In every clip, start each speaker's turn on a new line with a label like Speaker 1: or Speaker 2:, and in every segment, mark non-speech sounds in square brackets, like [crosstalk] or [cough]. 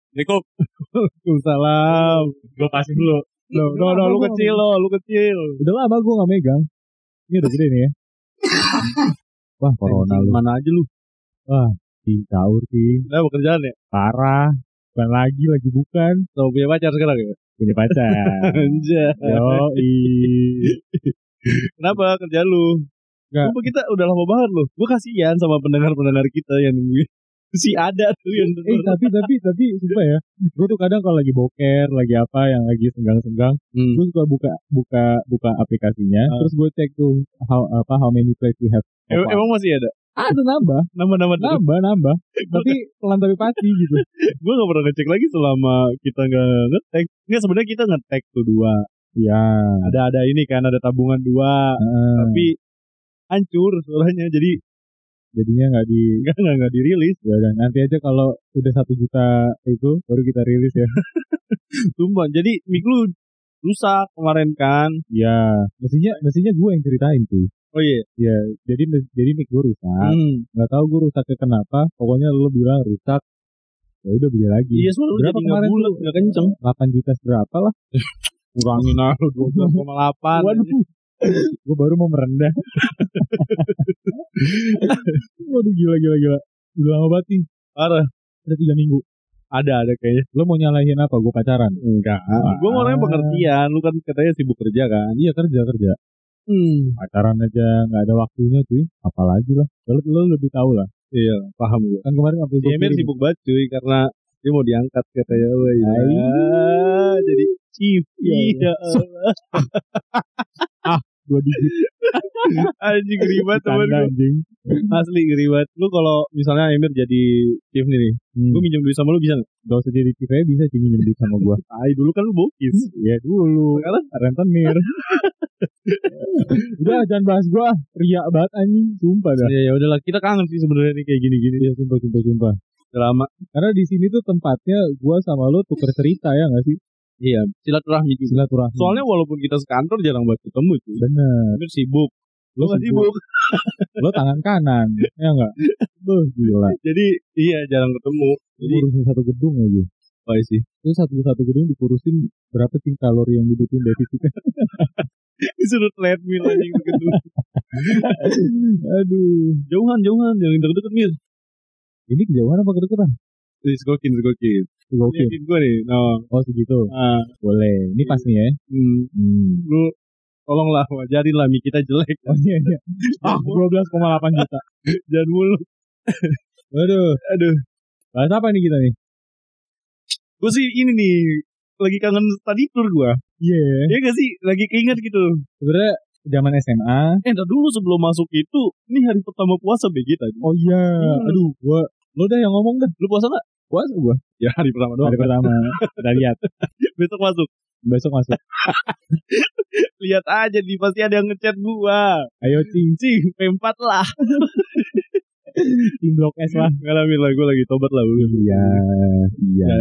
Speaker 1: [laughs]
Speaker 2: Assalamualaikum.
Speaker 1: Waalaikumsalam.
Speaker 2: Gue kasih dulu.
Speaker 1: Lo, no, no, lu kecil lo, lu kecil.
Speaker 3: Udah lama gue gak megang. Ini udah gede nih ya. Wah, corona
Speaker 1: Anjing,
Speaker 3: lu.
Speaker 1: Mana aja lu?
Speaker 3: Ting, caur, ting.
Speaker 1: Nah, mau kerjaan ya?
Speaker 3: Parah. Bukan lagi, lagi bukan.
Speaker 1: Lo punya pacar sekarang
Speaker 3: [laughs]
Speaker 1: ya?
Speaker 3: Punya pacar.
Speaker 1: Anjay.
Speaker 3: [laughs] Yoi.
Speaker 1: Kenapa kerjaan lu?
Speaker 3: Nggak.
Speaker 1: Gua kita udah lama banget loh. Gue kasihan sama pendengar-pendengar kita yang nungguin. [laughs] Si ada tuh yang
Speaker 3: Eh, tapi, tapi, tapi, sumpah ya. Gue tuh kadang kalau lagi boker, lagi apa, yang lagi senggang-senggang.
Speaker 1: Hmm.
Speaker 3: Gue suka buka, buka, buka aplikasinya. Terus gue cek tuh, how, apa, how many plays you have. so
Speaker 1: Em-
Speaker 3: far.
Speaker 1: Emang masih ada?
Speaker 3: Ada nambah,
Speaker 1: Nama-nama tuh.
Speaker 3: nambah, nambah. tapi pelan tapi pasti gitu.
Speaker 1: Gue gak pernah ngecek lagi selama kita gak ngetek. Enggak sebenarnya kita ngetek tuh dua.
Speaker 3: Iya.
Speaker 1: Ada ada ini kan ada tabungan dua.
Speaker 3: Heeh.
Speaker 1: Tapi hancur suaranya. Jadi
Speaker 3: jadinya nggak di
Speaker 1: enggak enggak enggak dirilis.
Speaker 3: ya udah nanti aja kalau udah satu juta itu baru kita rilis ya
Speaker 1: Sumpah. Jadi mic lu rusak kemarin kan.
Speaker 3: ya mestinya mestinya gue yang ceritain tuh
Speaker 1: Oh iya.
Speaker 3: jadi jadi mic gue rusak
Speaker 1: Hmm.
Speaker 3: nggak tahu gue rusaknya kenapa pokoknya lo bilang rusak ya udah beli lagi
Speaker 1: Iya, suara lu
Speaker 3: Berapa
Speaker 1: jadi nggak
Speaker 3: kemarin
Speaker 1: bulat, nggak kenceng.
Speaker 3: 8 juta berapa lah
Speaker 1: Kurangin lah 12,8.
Speaker 3: waduh gue baru mau
Speaker 1: [laughs]
Speaker 3: merendah waduh gila gila gila udah lama banget nih
Speaker 1: Parah.
Speaker 3: ada tiga minggu
Speaker 1: Ada ada kayaknya.
Speaker 3: lo mau nyalahin apa gue pacaran
Speaker 1: Enggak. Gue orangnya
Speaker 3: Ah.
Speaker 1: pengertian. Lu kan katanya sibuk kerja kan.
Speaker 3: iya kerja kerja
Speaker 1: Hmm.
Speaker 3: pacaran aja nggak ada waktunya cuy apalagi lah lo, lo lebih tahu lah
Speaker 1: Iya, paham gue.
Speaker 3: kan kemarin waktu itu
Speaker 1: Emir sibuk banget cuy karena dia mau diangkat katanya. Wah, ya.
Speaker 3: Hai.
Speaker 1: jadi chief. Iya.
Speaker 3: Iya, Ah, [laughs] dua digit
Speaker 1: [laughs] Anjing ngeri banget temen
Speaker 3: tanda
Speaker 1: gue.
Speaker 3: anjing
Speaker 1: Asli ngeri banget. Lu kalau misalnya Emir jadi chief nih nih.
Speaker 3: hmm.
Speaker 1: Gue minjem duit sama lu bisa nggak?
Speaker 3: gak usah jadi TV bisa sih minjem duit sama [laughs] gua
Speaker 1: Tai dulu kan lu bokis.
Speaker 3: ya dulu
Speaker 1: Sekarang?
Speaker 3: rentenir [laughs] udah jangan bahas gua riak banget anjing sumpah dah
Speaker 1: Iya ya udahlah kita kangen sih sebenarnya nih kayak gini-gini.
Speaker 3: Iya sumpah sumpah sumpah
Speaker 1: Udah lama.
Speaker 3: karena di sini tuh tempatnya gua sama lo tuker cerita ya nggak sih
Speaker 1: Iya, silaturahmi juga.
Speaker 3: silaturahmi
Speaker 1: Soalnya walaupun kita sekantor jarang banget ketemu cuy.
Speaker 3: bener
Speaker 1: Bener sibuk.
Speaker 3: lo
Speaker 1: Gua
Speaker 3: sibuk lo tangan kanan ya nggak Beuh, gila
Speaker 1: Jadi iya jarang ketemu. Jadi
Speaker 3: urusan satu gedung lagi
Speaker 1: apa sih?
Speaker 3: Terus satu satu gedung dikurusin berapa sih kalori yang dibutuhin defisitnya?
Speaker 1: [laughs] Disuruh treadmill anjing gitu.
Speaker 3: [laughs] Aduh,
Speaker 1: Jauhan, jauhan, jangan deket-deket mir.
Speaker 3: ini kejauhan apa kedeketan?
Speaker 1: Jadi segokin, segokin.
Speaker 3: Oke,
Speaker 1: Yakin gue nih. No.
Speaker 3: oh segitu,
Speaker 1: Ah,
Speaker 3: boleh. Ini pas nih ya.
Speaker 1: hmm,
Speaker 3: Hmm.
Speaker 1: lu tolonglah wajarin lah mi kita
Speaker 3: [laughs]
Speaker 1: jelek.
Speaker 3: Oh iya iya.
Speaker 1: [laughs]
Speaker 3: Ah, 12,8 juta.
Speaker 1: Jangan mulu.
Speaker 3: Aduh,
Speaker 1: Aduh.
Speaker 3: bahas apa nih kita nih?
Speaker 1: Gue sih ini nih lagi kangen tadi tur gue.
Speaker 3: Iya.
Speaker 1: Ya gak sih? Lagi keinget gitu.
Speaker 3: Sebenarnya zaman SMA.
Speaker 1: Eh, ntar dulu sebelum masuk itu, ini hari pertama puasa BG tadi. Hmm.
Speaker 3: Oh iya. Aduh, gua lo dah yang ngomong dah.
Speaker 1: Lu puasa gak?
Speaker 3: Puasa gua.
Speaker 1: Ya hari pertama doang.
Speaker 3: Hari
Speaker 1: [laughs]
Speaker 3: pertama. Udah lihat.
Speaker 1: Besok masuk.
Speaker 3: Besok masuk.
Speaker 1: Lihat aja di pasti ada yang ngechat gua.
Speaker 3: Ayo cing,
Speaker 1: Cing, P4 lah.
Speaker 3: cing blok S lah.
Speaker 1: Ngalamin lah gua lagi tobat lah. gua.
Speaker 3: Iya,
Speaker 1: Ya.
Speaker 3: iya,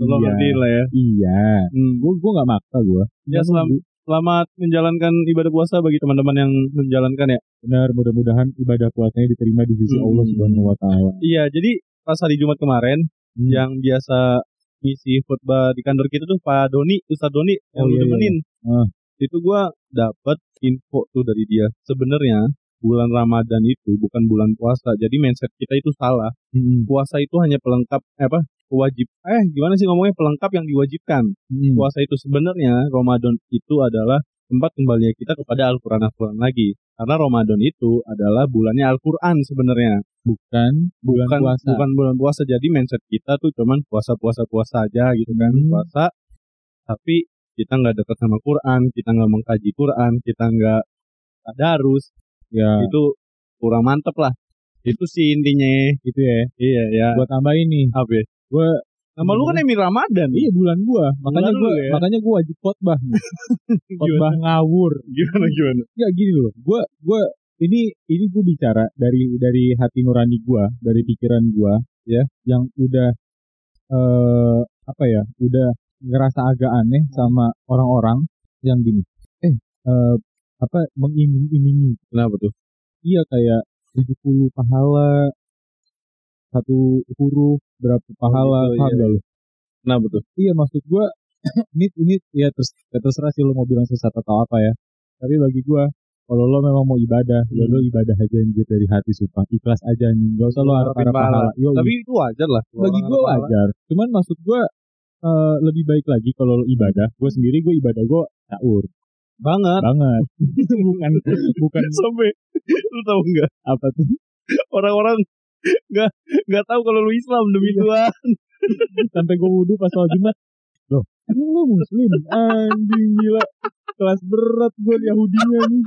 Speaker 1: Tolong
Speaker 3: iya,
Speaker 1: ngertiin lah ya.
Speaker 3: iya.
Speaker 1: Hmm.
Speaker 3: Gua gua nggak maksa gua.
Speaker 1: Ya, selam- Selamat menjalankan ibadah puasa bagi teman-teman yang menjalankan ya.
Speaker 3: Benar, mudah-mudahan ibadah puasanya diterima di sisi
Speaker 1: Hmm.
Speaker 3: Allah Subhanahu wa taala.
Speaker 1: Iya, jadi pas hari Jumat kemarin
Speaker 3: Hmm.
Speaker 1: yang biasa ngisi khutbah di kantor kita tuh Pak Doni, Ustaz Doni yang
Speaker 3: Oh,
Speaker 1: lu
Speaker 3: iya, iya.
Speaker 1: temenin.
Speaker 3: Ah.
Speaker 1: Itu gua dapat info tuh dari dia. Sebenarnya bulan Ramadan itu bukan bulan puasa. Jadi mindset kita itu salah.
Speaker 3: Mm-mm.
Speaker 1: Puasa itu hanya pelengkap eh, apa? Wajib. Eh, gimana sih ngomongnya pelengkap yang diwajibkan?
Speaker 3: Mm-mm.
Speaker 1: puasa itu sebenarnya Ramadan itu adalah tempat kembalinya kita kepada Al-Quran Al-Quran lagi karena Ramadan itu adalah bulannya Al-Quran sebenarnya
Speaker 3: Bukan bulan
Speaker 1: bukan
Speaker 3: puasa.
Speaker 1: bukan bulan puasa jadi mindset kita tuh cuman puasa puasa puasa aja gitu kan
Speaker 3: Hmm.
Speaker 1: puasa tapi kita nggak dekat sama Quran kita nggak mengkaji Quran kita nggak tadarus
Speaker 3: Ya,
Speaker 1: itu kurang mantep lah itu sih intinya
Speaker 3: gitu ya.
Speaker 1: iya ya
Speaker 3: Gua tambahin nih.
Speaker 1: apa ya?
Speaker 3: Gua-
Speaker 1: nama lu kan Emir Ramadan
Speaker 3: Iya bulan gua, makanya
Speaker 1: Bulan
Speaker 3: gua
Speaker 1: lu ya.
Speaker 3: makanya gua wajib khotbah.
Speaker 1: [laughs]
Speaker 3: nih.
Speaker 1: gimana
Speaker 3: khotbah ngawur.
Speaker 1: gimana gimana
Speaker 3: Ya gini loh. Gua gua ini ini gua bicara dari dari hati nurani gua, dari pikiran gua ya yang udah eh apa ya? Udah ngerasa agak aneh sama orang-orang yang gini. Eh, eh apa mengiming-imingi
Speaker 1: kenapa tuh
Speaker 3: iya kayak 70 pahala satu huruf berapa pahala
Speaker 1: gitu,
Speaker 3: paham
Speaker 1: iya.
Speaker 3: gak lu?
Speaker 1: Kenapa tuh?
Speaker 3: Iya maksud gue [coughs] ini ini ya terus ya terserah sih lo mau bilang sesat atau apa ya. Tapi bagi gue kalau lo memang mau ibadah, ya lo ibadah aja anjir dari hati sumpah. Ikhlas aja anjing. Gak usah lo harap
Speaker 1: Harapin
Speaker 3: harap pahala.
Speaker 1: pahala.
Speaker 3: Yo,
Speaker 1: Tapi itu wajar lah.
Speaker 3: bagi gue wajar. Cuman maksud gue eh, lebih baik lagi kalau lo ibadah. Gue sendiri gue ibadah gue sahur
Speaker 1: banget.
Speaker 3: banget. [laughs] bukan bukan
Speaker 1: Sampai [laughs] lu tahu nggak
Speaker 3: apa tuh.
Speaker 1: orang-orang nggak nggak tahu kalau lu Islam demi Tuhan.
Speaker 3: Sampai gue wudhu pas soal Jumat. Loh, emang lo muslim? Anjing gila. Kelas berat gue Yahudinya nih.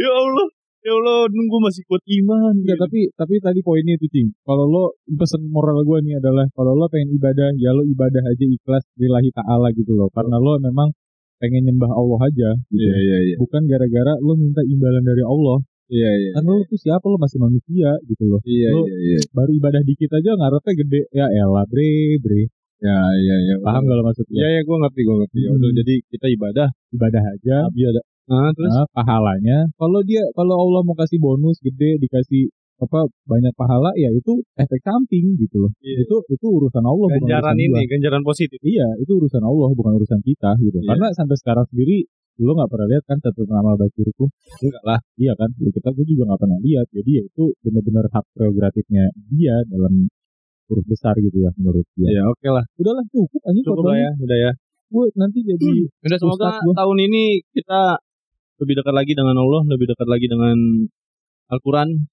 Speaker 1: Ya Allah. Ya Allah, nunggu masih kuat iman.
Speaker 3: Enggak, tapi tapi tadi poinnya itu Cing. Kalau lo pesan moral gue nih adalah kalau lo pengen ibadah, ya lo ibadah aja ikhlas lillahi taala gitu loh. Karena lo memang pengen nyembah Allah aja gitu.
Speaker 1: iya, iya.
Speaker 3: Bukan gara-gara lo minta imbalan dari Allah.
Speaker 1: Iya, iya.
Speaker 3: Kan lo tuh siapa lo masih manusia gitu loh.
Speaker 1: Iya,
Speaker 3: Lu-
Speaker 1: iya.
Speaker 3: Baru ibadah dikit aja ngarepnya gede. Ya elah bre bre.
Speaker 1: Ya, iya, iya.
Speaker 3: Paham gak lo maksudnya?
Speaker 1: Iya, iya, gue ngerti, gue ngerti. Ya udah,
Speaker 3: Hmm.
Speaker 1: jadi kita ibadah.
Speaker 3: Ibadah aja.
Speaker 1: Iya, ada. Ah, terus?
Speaker 3: Nah, pahalanya kalau dia kalau Allah mau kasih bonus gede dikasih apa banyak pahala ya itu efek samping gitu loh.
Speaker 1: Iya.
Speaker 3: Itu itu urusan Allah bukan
Speaker 1: ganjaran
Speaker 3: urusan gua.
Speaker 1: ini, ganjaran positif.
Speaker 3: Iya, itu urusan Allah bukan urusan kita gitu.
Speaker 1: Iya.
Speaker 3: Karena sampai sekarang sendiri lo nggak pernah lihat kan catatan amal baik burukku
Speaker 1: Enggak lah.
Speaker 3: iya kan Ya, kita gue juga nggak pernah lihat jadi ya itu benar-benar hak prerogatifnya dia dalam huruf besar gitu ya menurut dia
Speaker 1: Ya, oke lah.
Speaker 3: udahlah cukup aja
Speaker 1: Cukup lah ya, udah ya.
Speaker 3: gue nanti
Speaker 1: [clears throat]
Speaker 3: jadi
Speaker 1: Udah semoga
Speaker 3: Ustaz gua.
Speaker 1: tahun ini kita lebih dekat lagi dengan Allah, lebih dekat lagi dengan Al-Quran.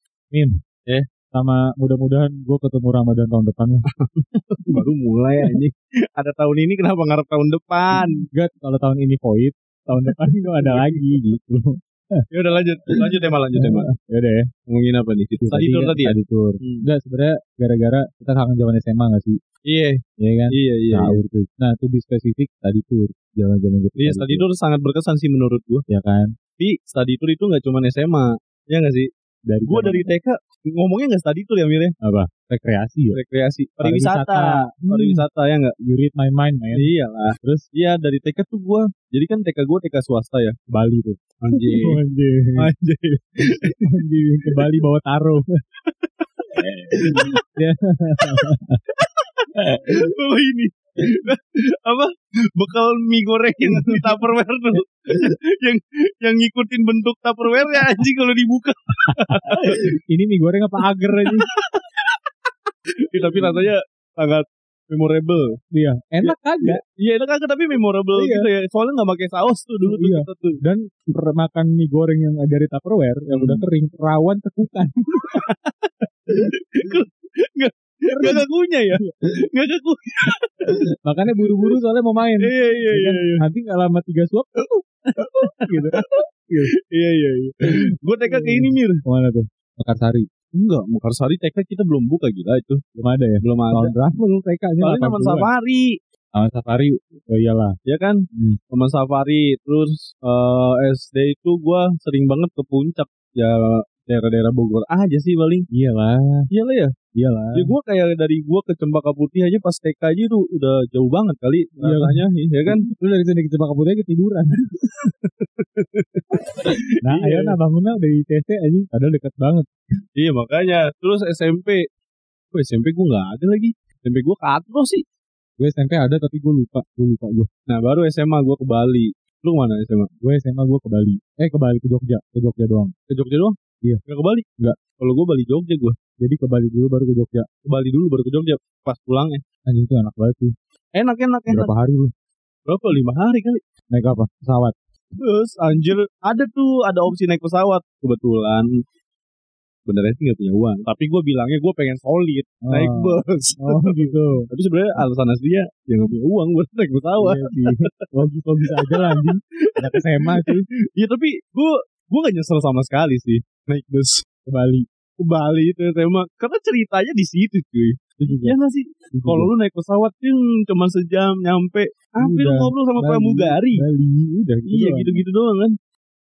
Speaker 3: sama ah, mudah-mudahan gue ketemu Ramadan tahun depan lah.
Speaker 1: Baru mulai aja. [laughs] Ada tahun ini kenapa ngarep tahun depan?
Speaker 3: Enggak, kalau tahun ini void, tahun depan itu ada lagi gitu.
Speaker 1: [laughs] Ya udah lanjut, lanjut tema, lanjut tema.
Speaker 3: Ya udah
Speaker 1: Iya.
Speaker 3: ya.
Speaker 1: Ngomongin apa nih?
Speaker 3: Itu
Speaker 1: Tadi tur
Speaker 3: kan,
Speaker 1: tadi ya?
Speaker 3: Tadi tur.
Speaker 1: Hmm.
Speaker 3: Enggak, sebenarnya gara-gara kita kangen zaman SMA gak sih?
Speaker 1: Iya,
Speaker 3: Iya kan?
Speaker 1: iya, iya.
Speaker 3: Sahur tuh. Nah, to be specific, tadi tur. Jalan-jalan gitu.
Speaker 1: Iya, study tour sangat berkesan sih menurut gua.
Speaker 3: Ya kan?
Speaker 1: Tapi study tour itu nggak cuma SMA, ya nggak sih?
Speaker 3: Dari
Speaker 1: Gua dari TK ngomongnya nggak study tour ya Mir ya?
Speaker 3: apa? Rekreasi ya?
Speaker 1: Rekreasi, pariwisata,
Speaker 3: Hmm,
Speaker 1: pariwisata ya nggak?
Speaker 3: You read my mind, man.
Speaker 1: Iya
Speaker 3: [laughs]
Speaker 1: lah. Terus iya dari TK tuh gua, jadi kan TK gua TK swasta ya.
Speaker 3: Bali tuh.
Speaker 1: [laughs] Anjir.
Speaker 3: Oh, Anjing.
Speaker 1: iya. Anjir.
Speaker 3: Anjing. Ke Bali bawa taro.
Speaker 1: Oh ini. [laughs] apa bekal mie goreng yang di tupperware [laughs] tuh yang yang ngikutin bentuk tupperware ya anjing kalau dibuka
Speaker 3: Ini mie goreng apa agar
Speaker 1: [laughs]
Speaker 3: aja?
Speaker 1: Ih, tapi rasanya sangat memorable
Speaker 3: Iya. Enak kagak?
Speaker 1: iya enak agak tapi memorable
Speaker 3: Iya.
Speaker 1: gitu ya soalnya nggak pakai saus tuh dulu tuh
Speaker 3: Iya.
Speaker 1: kita tuh
Speaker 3: dan per- makan mie goreng yang dari Tupperware yang
Speaker 1: Hmm.
Speaker 3: udah kering rawan tekukan.
Speaker 1: nggak kakunya ya nggak kaku
Speaker 3: Makanya buru-buru soalnya mau main.
Speaker 1: iya iya iya iya
Speaker 3: Nanti nggak lama tiga suap gitu.
Speaker 1: iya iya gue TK ke ini mir
Speaker 3: Mana eh, tuh? Mekarsari.
Speaker 1: enggak Mekarsari TK kita belum buka gila itu
Speaker 3: Belum ada ya?
Speaker 1: belum ada
Speaker 3: Tahun berapa lu TK-nya?
Speaker 1: paling Taman
Speaker 3: 80-an.
Speaker 1: Safari
Speaker 3: Taman Safari. Oh, iyalah.
Speaker 1: ya kan
Speaker 3: Hmm.
Speaker 1: Taman Safari terus eh, SD itu gua sering banget ke puncak ya daerah-daerah Bogor aja sih paling
Speaker 3: Iyalah.
Speaker 1: iya lah ya
Speaker 3: Iyalah.
Speaker 1: ya gua kayak dari gua ke Cempaka Putih aja pas TK aja itu udah jauh banget kali
Speaker 3: Iya.
Speaker 1: rasanya ya
Speaker 3: [laughs]
Speaker 1: kan
Speaker 3: Lu dari sini ke Cempaka Putih ketiduran. [laughs] nah,
Speaker 1: Iya.
Speaker 3: ayo nah bangunnya dari TC aja. Padahal dekat banget.
Speaker 1: iya makanya terus SMP Wah, SMP gua nggak ada lagi SMP gua ke Atro sih
Speaker 3: Gue SMP ada tapi gue lupa. Gue lupa gue.
Speaker 1: nah baru SMA gua ke Bali lu kemana SMA
Speaker 3: Gue SMA gue ke Bali. Eh ke Bali ke Jogja. Ke Jogja doang.
Speaker 1: ke Jogja doang
Speaker 3: Iya.
Speaker 1: nggak ke Bali
Speaker 3: Nggak.
Speaker 1: kalau gua Bali Jogja gua
Speaker 3: Jadi ke Bali dulu baru ke Jogja.
Speaker 1: ke Bali dulu baru ke Jogja pas pulang ya
Speaker 3: Anjing itu enak banget sih.
Speaker 1: enak enak enak
Speaker 3: Berapa hari lu?
Speaker 1: berapa lima hari kali
Speaker 3: Naik apa? Pesawat.
Speaker 1: Terus anjir ada tuh ada opsi naik pesawat kebetulan benernya sih gak punya uang tapi gue bilangnya gue pengen solid naik
Speaker 3: Oh.
Speaker 1: bus [laughs]
Speaker 3: Oh gitu.
Speaker 1: tapi sebenarnya alasan aslinya ya gak punya uang buat naik pesawat
Speaker 3: Iya sih. Logis-logis aja lah anjing. Anak SMA sih.
Speaker 1: ya tapi gue gue gak nyesel sama sekali sih naik bus
Speaker 3: Ke Bali.
Speaker 1: ke Bali itu SMA karena ceritanya di situ cuy
Speaker 3: Itu juga.
Speaker 1: ya gak sih
Speaker 3: Itu juga.
Speaker 1: kalau lu naik pesawat hmm, cuma sejam nyampe hampir
Speaker 3: Udah, iya.
Speaker 1: ngobrol sama
Speaker 3: Bali,
Speaker 1: pramugari
Speaker 3: Bali. Udah gitu.
Speaker 1: iya
Speaker 3: doang.
Speaker 1: gitu-gitu doang kan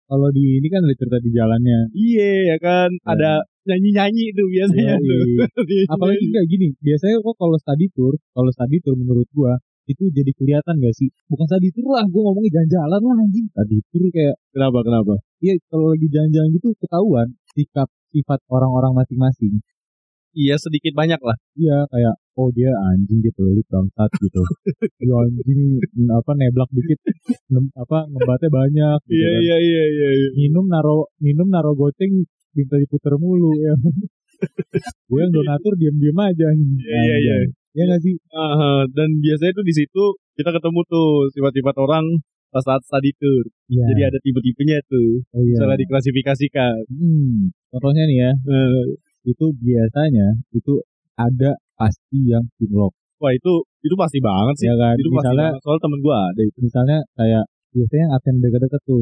Speaker 3: Kalau di ini kan ada cerita di jalannya.
Speaker 1: iya ya kan ada nyanyi-nyanyi tuh biasanya tuh.
Speaker 3: Yoi. Iya. Apalagi enggak gini. Biasanya kok kalau study tour. Kalau study tour menurut gua. Itu jadi kelihatan gak sih? Bukan study tour lah. Gua ngomongnya jalan-jalan lah anjing. Study tour kayak.
Speaker 1: kenapa kenapa
Speaker 3: Iya kalau lagi jalan-jalan gitu ketahuan. Sikap sifat orang-orang masing-masing.
Speaker 1: Iya sedikit banyak lah.
Speaker 3: Iya kayak oh dia anjing dia pelit bangsat
Speaker 1: [laughs]
Speaker 3: gitu dia anjing mm, apa neblak dikit nem- apa ngebatnya banyak gitu
Speaker 1: Iya
Speaker 3: kan.
Speaker 1: iya iya iya. iya.
Speaker 3: minum naro minum naro goceng minta diputer mulu [laughs] ya gue yang donatur diem diem aja
Speaker 1: Iya, iya, iya.
Speaker 3: ya nggak sih
Speaker 1: Ah, dan biasanya tuh di situ kita ketemu tuh sifat-sifat orang pas saat study tour.
Speaker 3: Iya.
Speaker 1: Jadi ada tipe-tipenya tuh.
Speaker 3: oh, iya.
Speaker 1: Salah diklasifikasikan.
Speaker 3: Hmm, contohnya nih ya
Speaker 1: Eh,
Speaker 3: itu biasanya itu ada pasti yang cinlok
Speaker 1: wah itu itu pasti banget sih.
Speaker 3: ya kan
Speaker 1: itu pasti
Speaker 3: misalnya
Speaker 1: banget. Soal temen gua ada itu.
Speaker 3: misalnya kayak biasanya yang aten deket-deket tuh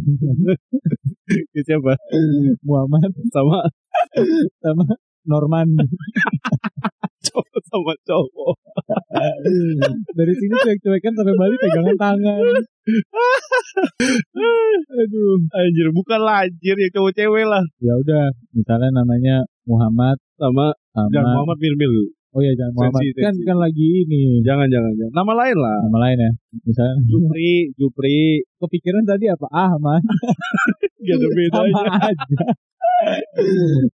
Speaker 3: [laughs]
Speaker 1: Siapa? [laughs]
Speaker 3: Muhammad
Speaker 1: Sama
Speaker 3: [laughs] sama Norman
Speaker 1: cowok sama cowok.
Speaker 3: [laughs] dari sini cuek-cuekan sampai Bali pegangan tangan
Speaker 1: Aduh, anjir bukan lah anjir ya cowok cewek lah.
Speaker 3: ya udah misalnya namanya Muhammad
Speaker 1: Sama
Speaker 3: sama
Speaker 1: jangan Muhammad Mirmil.
Speaker 3: oh ya jangan Muhammad
Speaker 1: Sensi,
Speaker 3: kan
Speaker 1: sensi.
Speaker 3: kan lagi ini
Speaker 1: Jangan jangan jangan. Nama lain lah.
Speaker 3: nama lain ya misalnya
Speaker 1: Jupri, Jupri.
Speaker 3: kepikiran tadi apa Ahmad
Speaker 1: Gak ada bedanya.
Speaker 3: Iya, sama aja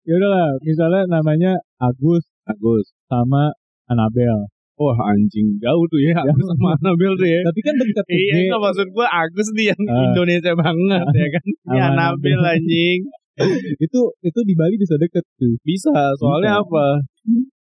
Speaker 3: ya udahlah misalnya namanya Agus
Speaker 1: Agus.
Speaker 3: sama Anabel
Speaker 1: Wah anjing jauh tuh ya. Agus sama Anabel tuh ya.
Speaker 3: tapi kan dekat tuh,
Speaker 1: Iya
Speaker 3: Ge.
Speaker 1: itu maksud gue Agus nih yang
Speaker 3: Ah.
Speaker 1: Indonesia banget ya [laughs] kan Ini
Speaker 3: Aman,
Speaker 1: Anabel
Speaker 3: aman.
Speaker 1: anjing
Speaker 3: itu itu di Bali bisa deket tuh
Speaker 1: Bisa soalnya
Speaker 3: Bisa.
Speaker 1: apa?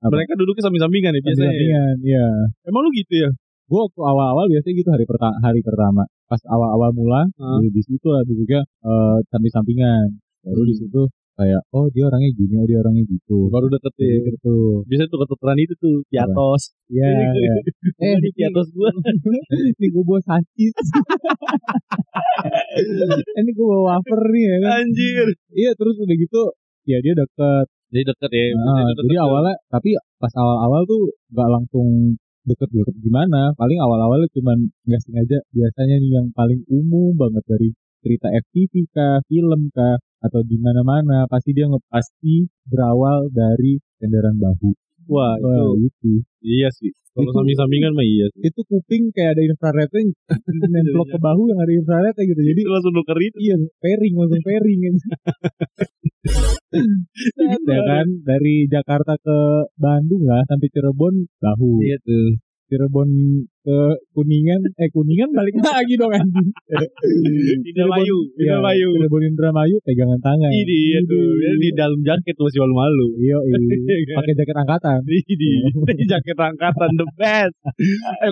Speaker 3: Apa?
Speaker 1: Mereka duduknya samping-sampingan ya biasanya ya?
Speaker 3: Sampingan, iya
Speaker 1: Emang lu gitu ya?
Speaker 3: gue waktu awal-awal biasanya gitu hari pertama hari pertama pas awal-awal mula
Speaker 1: Ah.
Speaker 3: di- di situ lah juga eh samping sampingan baru
Speaker 1: Hmm.
Speaker 3: di situ kayak oh dia orangnya gini oh dia orangnya gitu
Speaker 1: Baru deket ya
Speaker 3: Jadi gitu
Speaker 1: Biasanya tuh ketukeran itu tuh Piatos
Speaker 3: ya, ya.
Speaker 1: Eh
Speaker 3: eh
Speaker 1: di Piatos gue
Speaker 3: ini gue bawa
Speaker 1: [laughs]
Speaker 3: sasis ini gue bawa wafer nih ya kan
Speaker 1: Anjir
Speaker 3: iya terus udah gitu ya dia deket
Speaker 1: Jadi deket ya
Speaker 3: Nah, jadi awalnya tapi pas awal-awal tuh nggak langsung deket-deket gimana paling awal-awalnya cuman nggak sengaja biasanya nih yang paling umum banget dari cerita FTV kah film kah atau di mana-mana pasti dia ngepasti berawal dari kendaraan bahu
Speaker 1: Wah itu
Speaker 3: Wah, itu
Speaker 1: Iya sih Kalau
Speaker 3: Itu-
Speaker 1: samping-sampingan mah iya sih
Speaker 3: itu kuping kayak ada
Speaker 1: [laughs]
Speaker 3: infrarednya
Speaker 1: Iya,
Speaker 3: nemplok ke bahu yang ada infrarednya gitu jadi
Speaker 1: Itu [laughs] langsung nuker itu
Speaker 3: iya pairing langsung pairing kan? ya kan dari Jakarta ke Bandung lah sampai Cirebon bahu
Speaker 1: Iya tuh
Speaker 3: Cirebon ke Kuningan eh Kuningan balik [laughs] lagi dong anjing
Speaker 1: Indramayu
Speaker 3: Iya,
Speaker 1: Indramayu
Speaker 3: Cirebon Indramayu pegangan tangan
Speaker 1: Ini iya tuh Dia Di dalam jaket masih malu-malu
Speaker 3: iya iya.
Speaker 1: [laughs] Iya kan?
Speaker 3: pakai jaket angkatan Oh,
Speaker 1: Ini [laughs] ini jaket angkatan the best.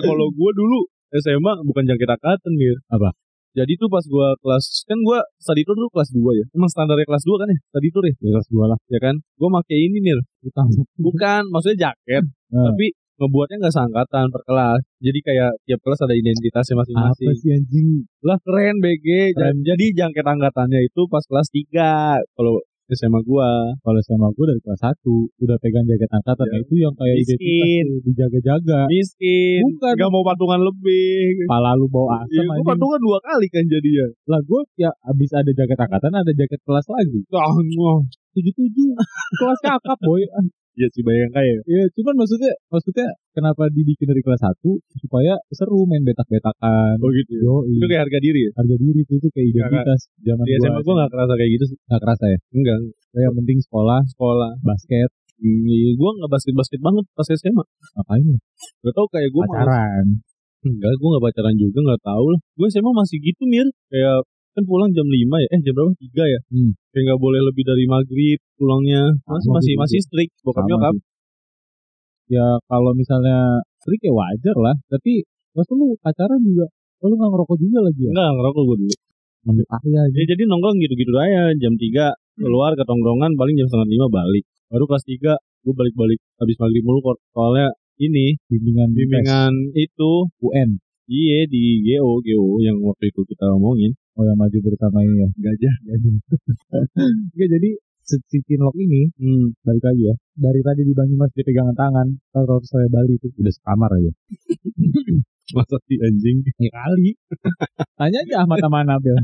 Speaker 1: Eh kalau gue dulu SMA bukan jaket angkatan Mir.
Speaker 3: Apa?
Speaker 1: Jadi tuh pas gue kelas kan gue study tour dulu kelas 2 ya. Emang standarnya kelas 2 kan ya study tour ya?
Speaker 3: ya kelas dua lah
Speaker 1: Ya kan? Gue make ini Mir.
Speaker 3: utang
Speaker 1: Bukan maksudnya jaket,
Speaker 3: Eh.
Speaker 1: tapi ngebuatnya nggak seangkatan per kelas. Jadi kayak tiap kelas ada identitasnya
Speaker 3: apa
Speaker 1: masing-masing.
Speaker 3: sih anjing
Speaker 1: Lah keren BG. Dan jadi jangket angkatannya itu pas kelas 3 kalau SMA gua
Speaker 3: kalau sama gue dari kelas satu udah pegang jaket angkatan
Speaker 1: Ya.
Speaker 3: itu yang kayak identitas
Speaker 1: miskin,
Speaker 3: tuh dijaga-jaga
Speaker 1: miskin,
Speaker 3: Bukan.
Speaker 1: nggak mau patungan lebih.
Speaker 3: pala lu bawa
Speaker 1: Iya, gue
Speaker 3: asam anjing
Speaker 1: patungan dua kali kan jadinya.
Speaker 3: lah gue ya abis ada jaket angkatan ada jaket kelas lagi tujuh tujuh kelas kakap boy
Speaker 1: Iya sih bayang kayak.
Speaker 3: Ya, cuman maksudnya maksudnya kenapa dibikin dari kelas 1 supaya seru main betak-betakan.
Speaker 1: Oh gitu. ya.
Speaker 3: Yo, iya.
Speaker 1: Itu kayak harga diri ya.
Speaker 3: harga diri itu, itu kayak identitas zaman
Speaker 1: Di SMA gue
Speaker 3: gua.
Speaker 1: gak kerasa kayak gitu sih.
Speaker 3: Nggak kerasa ya.
Speaker 1: Enggak.
Speaker 3: Saya yang penting sekolah,
Speaker 1: Sekolah.
Speaker 3: basket,
Speaker 1: Gue gak basket-basket banget pas SMA.
Speaker 3: ngapain? ya?
Speaker 1: Gak tau kayak gue.
Speaker 3: Pacaran.
Speaker 1: Enggak, gue gak pacaran juga gak tau lah. Gue SMA masih gitu Mir. Kayak kan pulang jam 5 ya. Eh jam berapa? 3 ya.
Speaker 3: Hmm.
Speaker 1: Kayak gak boleh lebih dari maghrib pulangnya. Masih,
Speaker 3: Sama
Speaker 1: masih,
Speaker 3: gitu.
Speaker 1: masih strict. Bokap
Speaker 3: Sama
Speaker 1: nyokap.
Speaker 3: sih. Ya kalau misalnya trik ya wajar lah, tapi maksud lu pacaran juga Oh, lu gak ngerokok juga lagi ya?
Speaker 1: Enggak ngerokok gue dulu.
Speaker 3: Menurut ayah aja.
Speaker 1: Ya, jadi nongkrong gitu-gitu aja. Jam 3 keluar ke tongkrongan paling jam setengah lima balik. Baru kelas 3 gue balik-balik habis maghrib mulu kok. soalnya ini
Speaker 3: Bimbingan, tes
Speaker 1: bimbingan itu
Speaker 3: UN.
Speaker 1: iya di GO GO yang waktu itu kita omongin
Speaker 3: Oh yang maju bersama ini ya.
Speaker 1: gajah
Speaker 3: [laughs] Oke, jadi si- si Kinlock ini
Speaker 1: hmm.
Speaker 3: balik lagi ya dari tadi di Banyumas dia pegangan tangan kalau saya Bali itu udah sekamar aja
Speaker 1: [laughs]
Speaker 3: [laughs]
Speaker 1: masa si anjing
Speaker 3: ya kali [laughs] tanya aja Ahmad sama
Speaker 1: [laughs]
Speaker 3: Anabel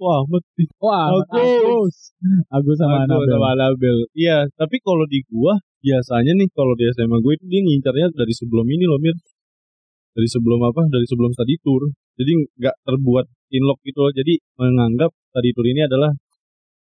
Speaker 1: wah mati
Speaker 3: wah Ahmad
Speaker 1: Oh, Agus.
Speaker 3: Agus Agus sama
Speaker 1: Aku
Speaker 3: Anabel
Speaker 1: sama Anabel iya tapi kalau di gua biasanya nih kalau di SMA gue itu dia ngincarnya dari sebelum ini loh Mir dari sebelum apa dari sebelum study tour jadi nggak terbuat inlock gitu loh jadi menganggap study tour ini adalah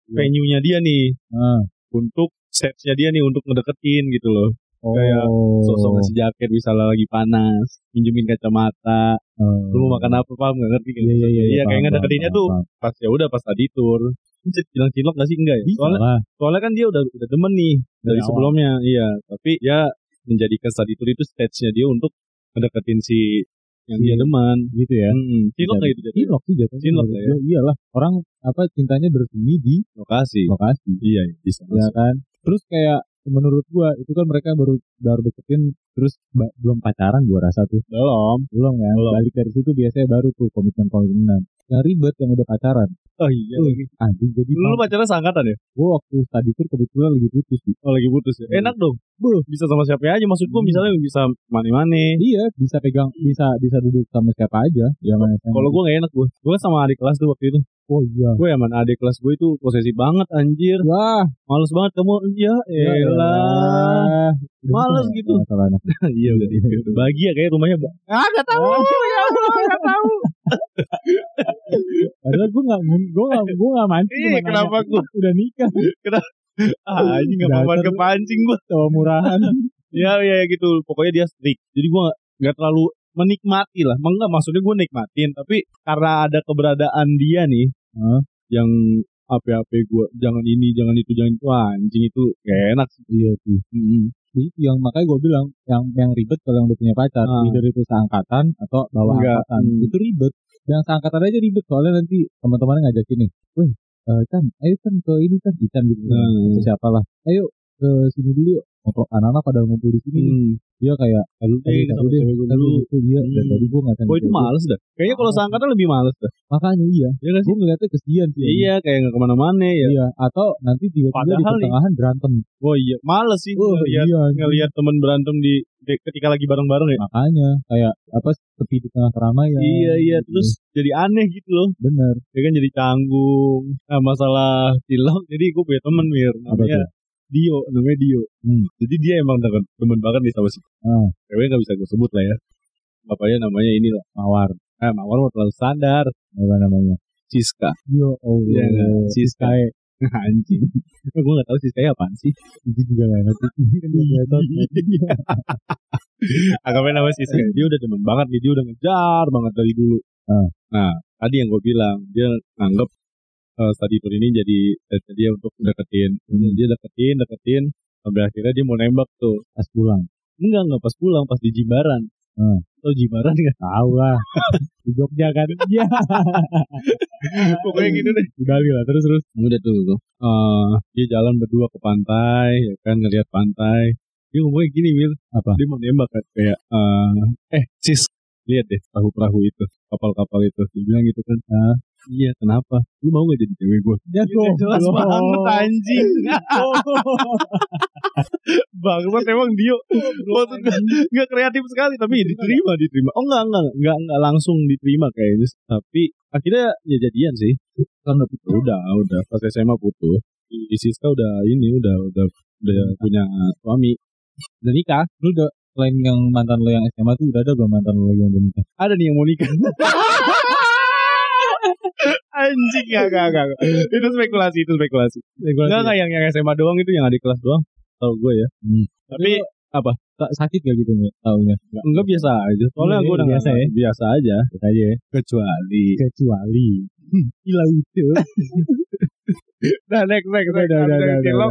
Speaker 1: venue-nya dia nih
Speaker 3: Ah,
Speaker 1: untuk stage-nya dia nih untuk ngedeketin gitu loh
Speaker 3: Oh.
Speaker 1: Kayak sosok ngasih jaket misalnya lagi panas minjemin kacamata
Speaker 3: Eh,
Speaker 1: lu mau makan apa paham nggak ngerti kan
Speaker 3: Iya, iya, iya.
Speaker 1: iya
Speaker 3: paham,
Speaker 1: kayak
Speaker 3: paham,
Speaker 1: ngedeketinnya
Speaker 3: paham,
Speaker 1: tuh
Speaker 3: paham.
Speaker 1: pas ya udah pas tadi tur bisa bilang cilok nggak sih enggak ya
Speaker 3: Bisa
Speaker 1: soalnya
Speaker 3: lah.
Speaker 1: soalnya kan dia udah udah demen nih dari
Speaker 3: awal.
Speaker 1: sebelumnya iya tapi dia menjadikan study tour itu stage-nya dia untuk mendeketin si yang dia
Speaker 3: Si-
Speaker 1: demen
Speaker 3: Gitu ya.
Speaker 1: hmm. cilok nggak itu jadi
Speaker 3: Cilok sih jatuhnya.
Speaker 1: Cilok
Speaker 3: menurut
Speaker 1: ya.
Speaker 3: gua. Iyalah. Orang apa cintanya bersemi di
Speaker 1: Iya. lokasi
Speaker 3: lokasi.
Speaker 1: iya iya, bisa
Speaker 3: ya kan terus kayak menurut gua itu kan mereka baru baru deketin terus ba- belum pacaran gua rasa tuh belum belum kan balik dari situ biasanya baru tuh komitmen komitmenan yang ribet yang udah pacaran
Speaker 1: oh iya
Speaker 3: Tuh, anjing jadi
Speaker 1: lu pacaran seangkatan ya
Speaker 3: gua waktu tadi tuh kebetulan lagi putus sih
Speaker 1: oh lagi putus ya
Speaker 3: Iya.
Speaker 1: enak dong bisa sama siapa aja maksud gua
Speaker 3: Hmm.
Speaker 1: misalnya bisa mane-mane
Speaker 3: iya bisa pegang bisa bisa duduk sama siapa aja ya mana sama-
Speaker 1: Hmm. kalau gua nggak enak gua gua kan sama adik kelas tuh waktu itu
Speaker 3: oh iya
Speaker 1: gue emang adik kelas gue itu posesif banget anjir
Speaker 3: wah
Speaker 1: males banget kamu ya
Speaker 3: ya
Speaker 1: elah
Speaker 3: elah. Udah
Speaker 1: Males
Speaker 3: ya?
Speaker 1: gitu.
Speaker 3: Masalah anak.
Speaker 1: iya udah bahagia kayak rumahnya Bang. ah gak tahu ya Allah gak tahu
Speaker 3: padahal gua nggak gua nggak gua nggak mancing
Speaker 1: Ih,
Speaker 3: cuma nanya,
Speaker 1: kenapa gua-
Speaker 3: udah nikah
Speaker 1: ah anjing gak
Speaker 3: Dasar
Speaker 1: papan
Speaker 3: lu.
Speaker 1: kepancing gue
Speaker 3: sama murahan
Speaker 1: ya ya ya gitu pokoknya dia strict jadi gue gak, nggak terlalu menikmati lah enggak maksudnya gue nikmatin tapi karena ada keberadaan dia nih
Speaker 3: Hah?
Speaker 1: yang apa-apa gue jangan ini jangan itu jangan itu Wah, anjing itu gak enak sih
Speaker 3: iya sih
Speaker 1: Mm-mm.
Speaker 3: itu yang makanya gue bilang yang yang ribet kalau yang udah punya pacar
Speaker 1: Ah.
Speaker 3: either itu seangkatan atau bawah
Speaker 1: Enggak.
Speaker 3: angkatan
Speaker 1: Hmm.
Speaker 3: itu ribet yang seangkatan aja ribet soalnya nanti teman-teman ngajakin nih weh eh Chan ayo Chan ke ini Chan Ican gitu kan
Speaker 1: Hmm.
Speaker 3: siapa lah ayo ke sini dulu yuk ngobrol anak-anak pada ngumpul di sini
Speaker 1: Hmm.
Speaker 3: dia kayak lalu
Speaker 1: Eh, sama cewek gue dulu.
Speaker 3: itu dia Iya, dan
Speaker 1: Hmm.
Speaker 3: tadi gue nggak
Speaker 1: Gue itu males dah. Ah. Kayaknya kalau
Speaker 3: Males.
Speaker 1: seangkatan lebih males dah.
Speaker 3: makanya iya
Speaker 1: Iya nggak sih?
Speaker 3: gue ngeliatnya kesian sih
Speaker 1: Iya, kayak nggak kemana-mana ya.
Speaker 3: Iya, atau nanti tiba-tiba di
Speaker 1: Padahal nih-
Speaker 3: pertengahan berantem.
Speaker 1: Oh iya, males sih
Speaker 3: Oh,
Speaker 1: ngelihat
Speaker 3: iya,
Speaker 1: ngelihat teman berantem di, di- ketika lagi bareng-bareng ya.
Speaker 3: makanya kayak apa sepi di tengah keramaian.
Speaker 1: Iya iya, terus jadi aneh gitu loh.
Speaker 3: bener.
Speaker 1: Ya kan jadi canggung. Nah, masalah cilok jadi gue punya temen Mir
Speaker 3: Apa
Speaker 1: namanya Dio, namanya Dio.
Speaker 3: Hmm.
Speaker 1: Jadi dia emang demen, demen banget nih sama si
Speaker 3: Ah.
Speaker 1: cewek nggak bisa gue sebut lah ya. Bapaknya namanya ini lah.
Speaker 3: mawar
Speaker 1: Eh, Mawar mah terlalu standar.
Speaker 3: apa namanya
Speaker 1: Siska.
Speaker 3: yo oh
Speaker 1: Iya, nggak? Siska.
Speaker 3: Siskae.
Speaker 1: [laughs] Anjing. gue gak tahu Siska apaan sih.
Speaker 3: itu juga gak
Speaker 1: [laughs]
Speaker 3: ngerti
Speaker 1: Iya,
Speaker 3: Dia ngetot.
Speaker 1: Anggapannya namanya Siska. Dia udah demen banget nih. Dia udah ngejar banget dari dulu.
Speaker 3: Ah.
Speaker 1: Nah, tadi yang gue bilang. Dia anggap eh, study tour ini jadi jadi dia untuk deketin. Dia deketin, deketin. Sampai akhirnya dia mau nembak tuh.
Speaker 3: pas pulang
Speaker 1: Enggak, enggak pas pulang. Pas di Jimbaran.
Speaker 3: Hmm.
Speaker 1: Tau Jimbaran nggak?
Speaker 3: tahu
Speaker 1: [laughs]
Speaker 3: lah di Jogja kan iya
Speaker 1: Pokoknya gitu deh.
Speaker 3: di Bali lah terus terus
Speaker 1: Udah tuh. tuh. Eh, dia jalan berdua ke pantai. Ya kan, ngeliat pantai. Dia ngomongnya gini, Wil.
Speaker 3: apa
Speaker 1: dia mau nembak kan kayak eh, eh sis lihat deh perahu-perahu itu kapal-kapal itu dia bilang gitu kan ah iya kenapa lu mau gak jadi cewek Oh, gue
Speaker 3: ya
Speaker 1: Gitu, jelas banget [laughs] anjing Bangsat emang Dio Waktu Gak kreatif sekali Tapi diterima diterima Oh enggak enggak Enggak, enggak langsung diterima kayaknya Tapi Akhirnya ya jadian sih Kan udah putus. Udah udah Pas SMA putus Si Siska udah ini Udah udah udah punya suami
Speaker 3: udah nikah lu udah selain yang mantan lo yang SMA tuh udah ada belum mantan lo yang udah nikah
Speaker 1: ada nih yang mau nikah. [laughs] Anjing gak, gak, gak. Itu spekulasi, itu spekulasi. Enggak, enggak yang, yang SMA doang itu yang adik kelas doang. Tahu gue ya.
Speaker 3: Hmm.
Speaker 1: Tapi
Speaker 3: Sa- sakit gak gitu nih taunya
Speaker 1: enggak, enggak biasa aja. Soalnya
Speaker 3: Iya,
Speaker 1: gue udah
Speaker 3: biasa
Speaker 1: enggak-
Speaker 3: ya.
Speaker 1: biasa aja.
Speaker 3: aja ya
Speaker 1: Kecuali.
Speaker 3: kecuali gila lucu
Speaker 1: Nah, next, next,
Speaker 3: udah
Speaker 1: next.
Speaker 3: udah udah
Speaker 1: Abis
Speaker 3: udah,
Speaker 1: dari
Speaker 3: udah.
Speaker 1: cilok.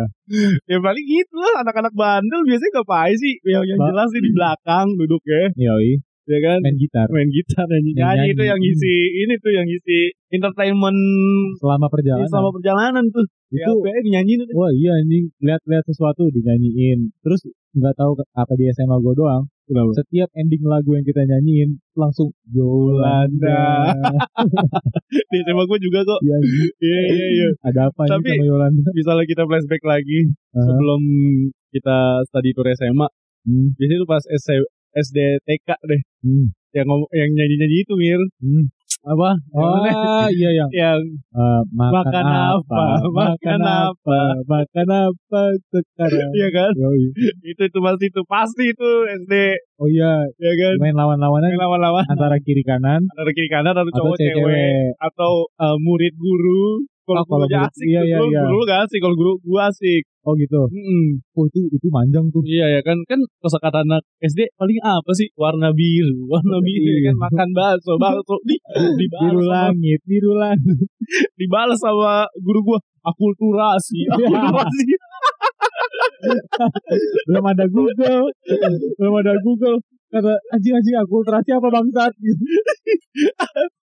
Speaker 1: Ya paling gitu lah anak-anak bandel biasanya ngapain sih? Yang, yang
Speaker 3: Ba-
Speaker 1: jelas sih di belakang duduk ya.
Speaker 3: Yoi,
Speaker 1: Ya kan?
Speaker 3: main gitar
Speaker 1: Main gitar nyanyi nyanyi
Speaker 3: Nyanyi.
Speaker 1: itu yang isi ini tuh yang isi entertainment
Speaker 3: Iya, selama perjalanan Ya,
Speaker 1: sama perjalanan tuh.
Speaker 3: itu
Speaker 1: Itu nyanyi tuh.
Speaker 3: Wah iya anjing lihat-lihat sesuatu dinyanyiin terus nggak tahu ke- apa di SMA gue doang
Speaker 1: Kenapa?
Speaker 3: setiap ending lagu yang kita nyanyiin langsung [laughs] Yolanda
Speaker 1: Di SMA gue juga kok.
Speaker 3: Iya, anjing.
Speaker 1: Iya iya iya.
Speaker 3: ada apa
Speaker 1: Tapi-
Speaker 3: ini sama Yolanda
Speaker 1: Misalnya kita flashback lagi
Speaker 3: Aha.
Speaker 1: sebelum kita study tour SMA,
Speaker 3: Hmm,
Speaker 1: biasanya tuh pas S- SD TK deh
Speaker 3: hmm,
Speaker 1: yang ngom- yang nyanyi-nyanyi itu Mir.
Speaker 3: hmm.
Speaker 1: Apa?
Speaker 3: oh iya yang
Speaker 1: Yang
Speaker 3: eh, makan,
Speaker 1: Makan
Speaker 3: apa,
Speaker 1: apa? Makan
Speaker 3: makan apa makan apa sekarang
Speaker 1: iya kan?
Speaker 3: Yoi.
Speaker 1: Itu itu pasti itu pasti itu SD
Speaker 3: oh iya
Speaker 1: ya kan?
Speaker 3: main lawan-lawanan
Speaker 1: Lama-lama
Speaker 3: antara kiri kanan
Speaker 1: ada kiri kanan ada
Speaker 3: atau
Speaker 1: cowok cewek
Speaker 3: cewek
Speaker 1: atau eh, murid guru kalau
Speaker 3: Oh, kalau
Speaker 1: gurunya
Speaker 3: guru-
Speaker 1: asik
Speaker 3: iya,
Speaker 1: tuh,
Speaker 3: iya,
Speaker 1: guru-
Speaker 3: iya.
Speaker 1: guru lu gak asik kalau guru gua asik
Speaker 3: Oh gitu.
Speaker 1: Mm-mm.
Speaker 3: Oh itu itu panjang tuh.
Speaker 1: Iya ya kan kan kosakata anak SD paling apa sih warna biru [laughs] warna biru ya kan makan bakso bakso di
Speaker 3: Biru
Speaker 1: dibalas sama,
Speaker 3: langit, biru langit.
Speaker 1: dibalas sama guru gua akulturasi
Speaker 3: Iya.
Speaker 1: akulturasi
Speaker 3: Belum ada Google. Belum ada Google. Kata anjing-anjing akulturasi apa bangsat gitu.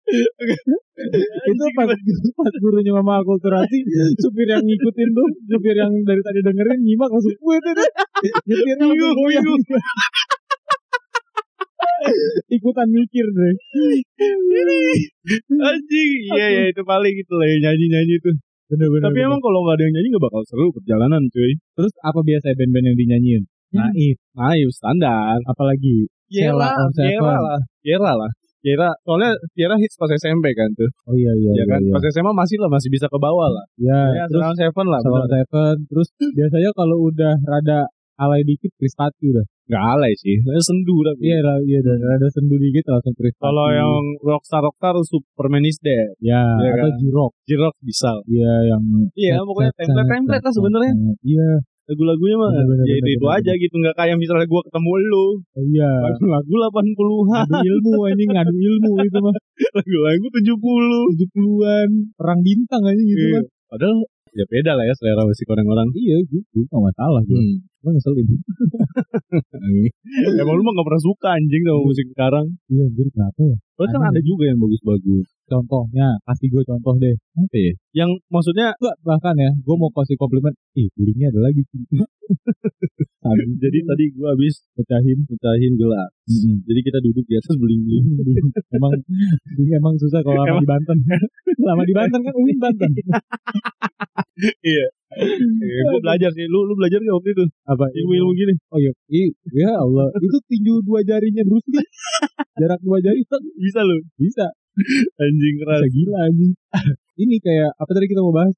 Speaker 3: itu pas, pas gurunya mama akulturasi supir yang ngikutin tuh supir yang dari tadi dengerin nyimak langsung gue tuh tuh." nyetirnya langsung
Speaker 1: Bingung,
Speaker 3: goyang.
Speaker 1: bingung.
Speaker 3: ikutan mikir deh
Speaker 1: anjing iya ya itu paling gitu lah nyanyi nyanyi itu
Speaker 3: bener-bener
Speaker 1: tapi emang kalau nggak ada yang nyanyi nggak bakal seru perjalanan cuy
Speaker 3: terus apa biasa band-band yang dinyanyiin
Speaker 1: Hmm. Nah,
Speaker 3: naif
Speaker 1: naif standar
Speaker 3: apalagi Sheila on Seven.
Speaker 1: Yera lah Yera lah Yera soalnya Yera hits pas SMP kan tuh
Speaker 3: oh iya iya
Speaker 1: ya
Speaker 3: iya,
Speaker 1: kan
Speaker 3: iya.
Speaker 1: pas SMA masih lah masih bisa ke bawah lah
Speaker 3: Ya,
Speaker 1: ya,
Speaker 3: terus
Speaker 1: Sheila on Seven lah
Speaker 3: Salon
Speaker 1: bener.
Speaker 3: Seven terus biasanya kalau udah rada alay dikit krispati udah
Speaker 1: nggak alay sih sendu tapi
Speaker 3: iya ra- iya udah rada sendu dikit langsung krispati
Speaker 1: Kalau yang rockstar rockstar Superman is Dead,
Speaker 3: ya
Speaker 1: Iya
Speaker 3: atau jirok
Speaker 1: Jirok bisa.
Speaker 3: iya yang
Speaker 1: Iya, pokoknya template-template lah sebenarnya.
Speaker 3: iya
Speaker 1: Lagu-lagunya mah
Speaker 3: Bener-bener,
Speaker 1: ya itu, itu
Speaker 3: bener-bener.
Speaker 1: aja gitu, nggak kayak misalnya gua ketemu lu,
Speaker 3: iya
Speaker 1: lagu-lagu 80-an,
Speaker 3: ngadu ilmu anjing ngadu ilmu itu mah
Speaker 1: lagu-lagu 70.
Speaker 3: 70-an perang bintang aja gitu
Speaker 1: Iya.
Speaker 3: kan
Speaker 1: Padahal ya beda lah ya selera musik orang-orang.
Speaker 3: iya gitu gak masalah gue
Speaker 1: Hmm.
Speaker 3: Emang ngeselin
Speaker 1: Iya, Emang lu mah gak pernah suka anjing sama musik sekarang.
Speaker 3: iya anjir kenapa ya
Speaker 1: Padahal kan
Speaker 3: Aneh.
Speaker 1: ada juga yang bagus-bagus.
Speaker 3: contohnya kasih gue contoh deh
Speaker 1: Apa ya? Yang maksudnya
Speaker 3: Enggak, bahkan ya gue mau kasih komplimen ih piringnya ada lagi Tadi
Speaker 1: jadi tadi gua habis
Speaker 3: pecahin
Speaker 1: pecahin gelas.
Speaker 3: Mm-mm.
Speaker 1: Jadi kita duduk di atas beling-beling.
Speaker 3: [laughs] emang ini emang susah kalau lama
Speaker 1: Emang.
Speaker 3: di Banten
Speaker 1: [laughs]
Speaker 3: lama di Banten kan Uin Banten
Speaker 1: Eh, gua belajar sih. Lu lu belajar gak waktu itu?
Speaker 3: apa
Speaker 1: Ilmu-ilmu gini.
Speaker 3: oh iya I- ya Allah itu tinju dua jarinya Bruce Lee jarak dua jari [laughs] tek,
Speaker 1: Bisa lu.
Speaker 3: bisa
Speaker 1: Anjing keras.
Speaker 3: bisa gila anjing [laughs] ini kayak apa tadi kita mau bahas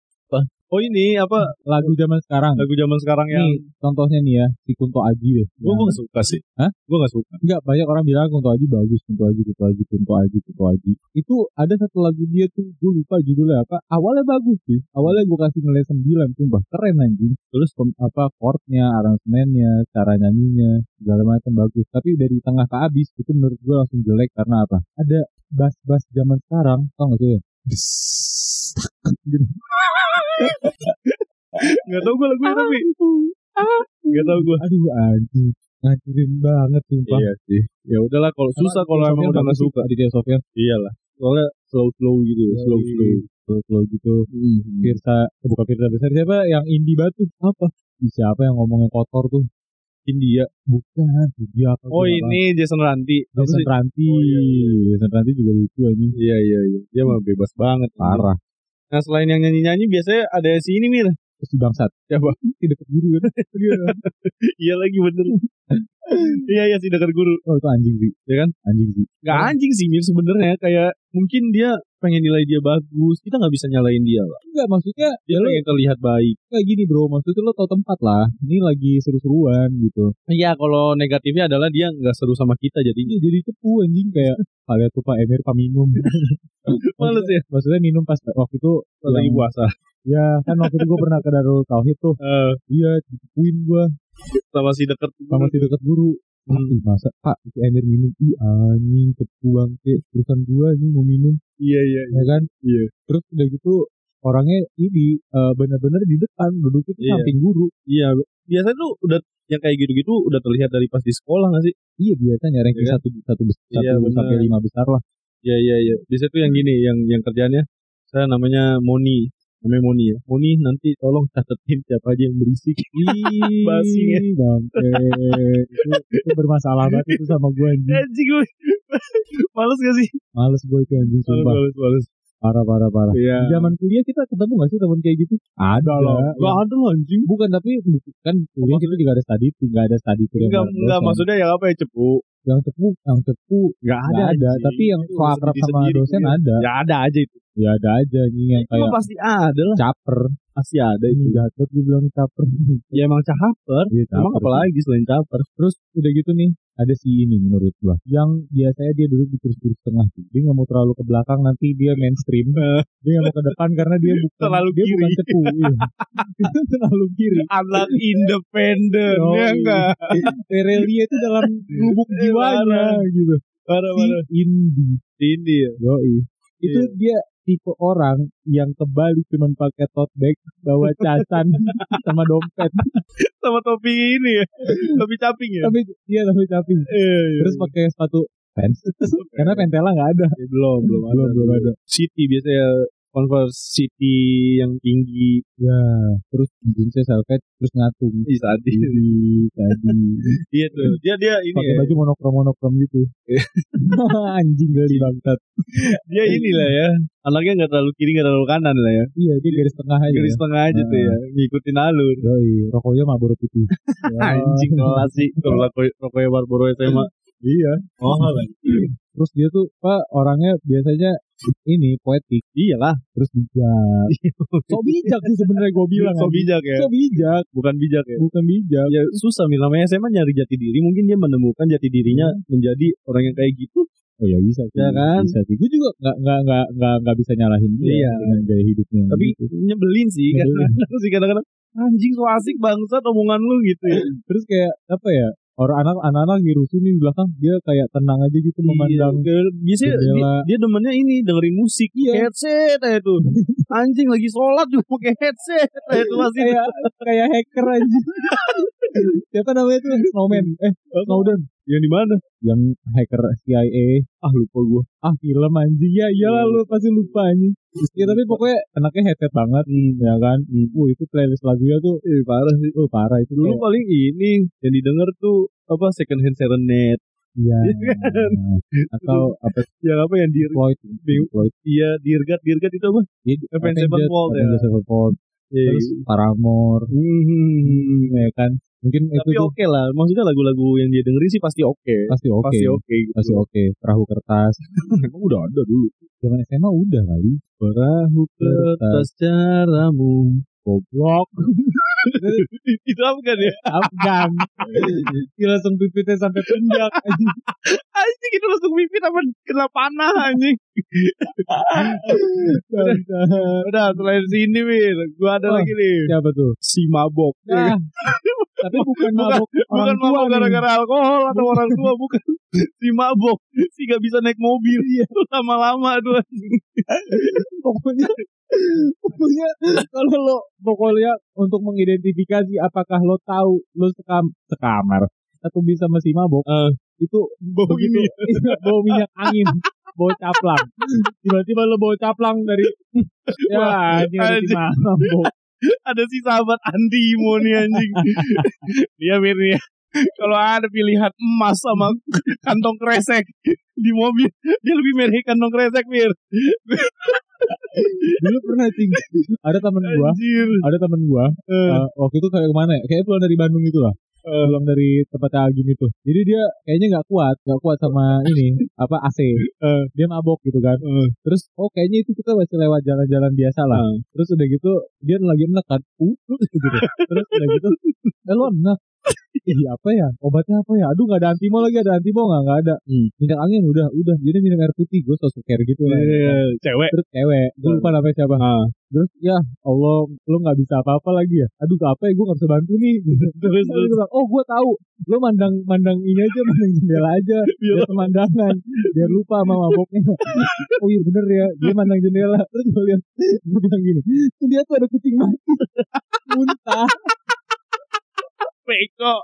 Speaker 1: Oh ini apa
Speaker 3: lagu zaman sekarang
Speaker 1: lagu zaman sekarang yang
Speaker 3: nih contohnya nih ya si Kunto Aji deh
Speaker 1: gue
Speaker 3: Nah,
Speaker 1: gak suka sih.
Speaker 3: Hah?
Speaker 1: Gue gak suka.
Speaker 3: Enggak, banyak orang bilang Kunto Aji bagus, Kunto Aji, Kunto Aji, Kunto Aji, Kunto Aji. Itu ada satu lagu dia tuh, gue lupa judulnya apa. Awalnya bagus sih. Awalnya gue kasih nilai 9, sumpah keren anjing. Terus pem- apa chordnya, aransemennya, cara nyanyinya, segala macam bagus. Tapi dari tengah ke abis itu menurut gue langsung jelek karena apa? Ada bass-bass zaman sekarang, tau gak sih?
Speaker 1: [laughs]
Speaker 3: ya?
Speaker 1: Gak tau gue lagunya tapi. Gak tau gue.
Speaker 3: Aduh anjing, ngancurin banget sumpah.
Speaker 1: Iya sih. Ya udahlah kalau susah kalau emang udah gak suka.
Speaker 3: Aditya Sofyan,
Speaker 1: Iyalah. Soalnya slow slow gitu,
Speaker 3: Yoi.
Speaker 1: slow slow.
Speaker 3: kalau gitu.
Speaker 1: Hmm, Biar
Speaker 3: Firsa eh, bukan Firsa besar siapa yang Indi Batu apa Ih, siapa yang ngomongnya kotor tuh
Speaker 1: India.
Speaker 3: bukan dia apa
Speaker 1: Oh ini Jason Ranti. Apa
Speaker 3: Jason
Speaker 1: sih? Oh,
Speaker 3: Ranti Jason Ranti juga lucu aja
Speaker 1: Iya iya iya. Dia mah bebas banget.
Speaker 3: parah
Speaker 1: Nah selain yang nyanyi nyanyi biasanya ada si ini mir.
Speaker 3: terus si bangsat
Speaker 1: Siapa?
Speaker 3: [laughs] si deket guru kan
Speaker 1: [laughs] Iya lagi [laughs] bener. Iya iya si dekat guru.
Speaker 3: oh itu anjing sih
Speaker 1: Ya kan?
Speaker 3: anjing sih
Speaker 1: Gak anjing sih mir sebenarnya kayak mungkin dia pengen nilai dia bagus. Kita nggak bisa nyalain dia lah.
Speaker 3: enggak maksudnya
Speaker 1: Dia
Speaker 3: ya lu
Speaker 1: pengen terlihat baik.
Speaker 3: kayak gini bro maksudnya lo tau tempat lah ini lagi seru-seruan gitu
Speaker 1: Iya, kalau negatifnya adalah dia nggak seru sama kita jadinya.
Speaker 3: ini Iya, jadi cepu anjing
Speaker 1: [laughs]
Speaker 3: kayak kalian tuh pak Emir pak minum
Speaker 1: Males ya,
Speaker 3: maksudnya minum pas waktu itu
Speaker 1: pas lagi
Speaker 3: yang-
Speaker 1: puasa.
Speaker 3: ya kan waktu itu gue pernah ke Darul Tauhid tuh
Speaker 1: Eh,
Speaker 3: iya dicepuin gue
Speaker 1: sama si deket.
Speaker 3: sama si dekat guru Pak,
Speaker 1: Hmm.
Speaker 3: ih, masa pak itu ember minum ih anjing kebuang ke urusan gua ini mau minum
Speaker 1: Iya, iya.
Speaker 3: ya kan
Speaker 1: Iya.
Speaker 3: terus udah gitu orangnya ini eh, benar-benar di depan duduk itu
Speaker 1: Iya.
Speaker 3: samping guru
Speaker 1: Iya, biasanya tuh udah yang kayak gitu-gitu udah terlihat dari pas di sekolah nggak sih?
Speaker 3: iya biasanya ranking
Speaker 1: Iya.
Speaker 3: satu satu bes- satu
Speaker 1: Iya, benar.
Speaker 3: sampai lima besar
Speaker 1: [laughs]
Speaker 3: lah
Speaker 1: Iya, iya, iya. Biasanya tuh yang gini, yang yang kerjaannya. Saya namanya Moni. Namanya Moni ya. Moni nanti tolong catetin siapa aja yang berisik.
Speaker 3: Ih,
Speaker 1: Basing ya.
Speaker 3: bangke. itu, itu bermasalah banget itu sama gua anjing
Speaker 1: Anjing gue. [laughs] Males gak sih?
Speaker 3: males gua itu anjing
Speaker 1: Males,
Speaker 3: sumpah
Speaker 1: males, males.
Speaker 3: parah parah parah
Speaker 1: Iya. Iya.
Speaker 3: Di zaman kuliah kita ketemu gak sih teman kayak gitu ada
Speaker 1: Gak ada loh anjing.
Speaker 3: bukan tapi kan kuliah kita juga ada study tour nggak ada study tour yang
Speaker 1: Enggak,
Speaker 3: bareng
Speaker 1: enggak.
Speaker 3: dosen.
Speaker 1: Maksudnya yang apa ya, cepu?
Speaker 3: yang cepu yang cepu
Speaker 1: Gak
Speaker 3: nggak ada,
Speaker 1: anjing.
Speaker 3: tapi yang
Speaker 1: Itu
Speaker 3: so akrab sama
Speaker 1: sendiri-sendiri.
Speaker 3: dosen ada
Speaker 1: Ya ada aja itu.
Speaker 3: ya ada aja nih yang
Speaker 1: Itu
Speaker 3: kayak
Speaker 1: pasti ada lah.
Speaker 3: caper
Speaker 1: Pasti ada itu.
Speaker 3: jatuh gue bilang caper
Speaker 1: Ya emang caper.
Speaker 3: Iya,
Speaker 1: Emang
Speaker 3: caper.
Speaker 1: apalagi selain caper.
Speaker 3: terus udah gitu nih ada si ini menurut gua yang biasanya dia duduk di kursi tengah tuh. dia nggak mau terlalu ke belakang nanti dia mainstream dia nggak mau ke depan karena
Speaker 1: [laughs]
Speaker 3: dia bukan
Speaker 1: Eh. Terlalu
Speaker 3: dia
Speaker 1: kiri.
Speaker 3: bukan cepu
Speaker 1: [laughs]
Speaker 3: iya. terlalu kiri
Speaker 1: Anak independen
Speaker 3: Yoi.
Speaker 1: ya enggak.
Speaker 3: Terelia itu
Speaker 1: [laughs]
Speaker 3: dalam
Speaker 1: Iya,
Speaker 3: lubuk jiwanya gitu si
Speaker 1: Parah-parah.
Speaker 3: indie
Speaker 1: Ini ya.
Speaker 3: Yoi. itu
Speaker 1: Iya.
Speaker 3: dia tipe orang yang ke Bali cuman pakai tote bag bawa casan [laughs] sama
Speaker 1: [laughs]
Speaker 3: dompet
Speaker 1: Sama topi ini ya. [laughs] Topi caping ya. iya,
Speaker 3: tapi iya tapi tapi terus pakai sepatu
Speaker 1: [laughs]
Speaker 3: fans karena pentela nggak ada
Speaker 1: Iya, belum, belum ada.
Speaker 3: [laughs] belum ada
Speaker 1: City biasanya Converse City yang tinggi
Speaker 3: Ya, terus jeansnya selvet, terus ngatung.
Speaker 1: Ih, sadis.
Speaker 3: Ih, Tadi
Speaker 1: [laughs] Iya tuh. Dia dia ini
Speaker 3: pakai
Speaker 1: ya.
Speaker 3: baju monokrom monokrom
Speaker 1: [laughs]
Speaker 3: gitu. [laughs] Anjing kali bangsat.
Speaker 1: Dia inilah ya. Anaknya nggak terlalu kiri nggak terlalu kanan lah ya.
Speaker 3: Iya, dia garis tengah aja.
Speaker 1: Garis tengah aja tuh ya. Ngikutin alur.
Speaker 3: Ya. Yoi, rokoknya Marlboro putih.
Speaker 1: [laughs]
Speaker 3: Ya,
Speaker 1: Anjing Ah. kelas sih. Kalau rokok- rokoknya Marlboro SMA.
Speaker 3: Iya.
Speaker 1: Oh lah.
Speaker 3: Terus dia tuh pak orangnya biasanya ini poetik,
Speaker 1: Iyalah.
Speaker 3: terus bijak. so bijak sih sebenarnya gue bilang.
Speaker 1: So bijak ya.
Speaker 3: So bijak,
Speaker 1: Bukan bijak ya.
Speaker 3: bukan bijak.
Speaker 1: Ya susah Mil. namanya SMA nyari jati diri. Mungkin dia menemukan jati dirinya menjadi orang yang kayak gitu.
Speaker 3: Oh ya bisa sih.
Speaker 1: Ya kan?
Speaker 3: Bisa sih. Gue juga nggak nggak nggak nggak nggak bisa nyalahin dia
Speaker 1: Iya.
Speaker 3: dengan gaya hidupnya. Gitu. yang
Speaker 1: Tapi iya. nyebelin sih.
Speaker 3: Nyebelin.
Speaker 1: Karena [laughs] sih kadang-kadang. Anjing so asik bangsat omongan lu gitu ya.
Speaker 3: terus kayak apa ya orang anak anak-anak dirusuh nih di belakang dia kayak tenang aja gitu memandang
Speaker 1: Iya, biasanya dia,
Speaker 3: jendela.
Speaker 1: dia demennya ini dengerin musik
Speaker 3: Iya.
Speaker 1: headset aja tuh anjing lagi sholat juga pakai headset aja tuh masih
Speaker 3: kayak kayak hacker aja
Speaker 1: [laughs]
Speaker 3: siapa namanya tuh snowman eh Snowden
Speaker 1: yang di mana
Speaker 3: yang hacker CIA ah lupa gua ah film anjing ya iyalah
Speaker 1: Hmm.
Speaker 3: lu pasti lupa anjing ya tapi pokoknya anaknya headset banget
Speaker 1: Hmm.
Speaker 3: ya kan Wuh, itu playlist lagunya tuh eh, parah sih oh parah itu
Speaker 1: dulu paling ini yang didengar tuh apa second hand serenade
Speaker 3: ya
Speaker 1: Iya
Speaker 3: atau apa
Speaker 1: yang apa yang dir
Speaker 3: Floyd Floyd
Speaker 1: iya dirgat dirgat itu apa
Speaker 3: Dia-
Speaker 1: Avenged Sevenfold, ya.
Speaker 3: Avenged Sevenfold. terus Paramore
Speaker 1: Hmm.
Speaker 3: ya kan mungkin itu
Speaker 1: tapi
Speaker 3: tuh
Speaker 1: oke lah maksudnya lagu-lagu yang dia dengerin sih pasti oke
Speaker 3: pasti oke
Speaker 1: pasti oke gitu.
Speaker 3: masih oke perahu kertas
Speaker 1: [laughs] Emang udah ada dulu
Speaker 3: zaman SMA udah kali perahu kertas
Speaker 1: kertas
Speaker 3: [laughs]
Speaker 1: caramu
Speaker 3: goblok
Speaker 1: itu apa kan ya
Speaker 3: Afgan gila langsung pipitnya sampai pundak
Speaker 1: anjing itu gitu langsung pipit apa kena panah
Speaker 3: [laughs]
Speaker 1: anjing
Speaker 3: Bangsat.
Speaker 1: Udah selain sini Mir Gue ada
Speaker 3: Wah.
Speaker 1: lagi nih
Speaker 3: siapa tuh
Speaker 1: Si mabok
Speaker 3: nah, tapi bukan mabok
Speaker 1: Bukan
Speaker 3: orang tua
Speaker 1: mabok
Speaker 3: nih.
Speaker 1: gara-gara alkohol Atau orang tua Bukan Si mabok Si gak bisa naik mobil Iya, Lama-lama tuh
Speaker 3: pokoknya pokoknya kalau lo pokoknya untuk mengidentifikasi apakah lo tahu lo sekam sekamar atau bisa masih mabok
Speaker 1: Eh.
Speaker 3: itu
Speaker 1: Bau
Speaker 3: begitu
Speaker 1: gini
Speaker 3: Iya, bawa minyak angin bawa caplang tiba-tiba lo bawa caplang dari ya ini ada
Speaker 1: anjing.
Speaker 3: di mabok
Speaker 1: Ada si sahabat Andi Imo nih anjing Dia Mir nih ya. Kalau ada pilihan emas sama kantong kresek di mobil dia lebih milih kantong kresek mir
Speaker 3: dulu pernah cing ada temen gua
Speaker 1: anjir
Speaker 3: ada temen gua
Speaker 1: Eh,
Speaker 3: eh, waktu itu kayak kemana ya kayak pulang dari Bandung itu lah Eh, pulang dari tempatnya Agim itu jadi dia kayaknya nggak kuat nggak kuat sama ini apa AC
Speaker 1: Eh.
Speaker 3: dia mabok gitu kan terus oh kayaknya itu kita masih lewat jalan-jalan biasa lah
Speaker 1: Eh.
Speaker 3: terus udah gitu dia lagi enak kan uh gitu
Speaker 1: [laughs]
Speaker 3: terus udah gitu eh lo enak Ih, apa ya obatnya apa ya aduh nggak ada antimo lagi ada antimo nggak nggak ada
Speaker 1: Hmm.
Speaker 3: minyak angin udah udah jadi minum air putih gue sosok care gitu lah
Speaker 1: eh, cewek
Speaker 3: terus cewek gue lupa namanya siapa terus ya Allah lo nggak bisa apa-apa lagi ya aduh apa ya gue nggak bisa bantu nih
Speaker 1: terus
Speaker 3: Terus dia bilang, oh gue tahu lo mandang mandang ini aja mandang jendela aja biar pemandangan biar lupa sama maboknya [laughs] oh iya bener ya dia mandang jendela terus gue lihat gue bilang gini tuh dia tuh ada kucing mati [laughs] muntah
Speaker 1: peko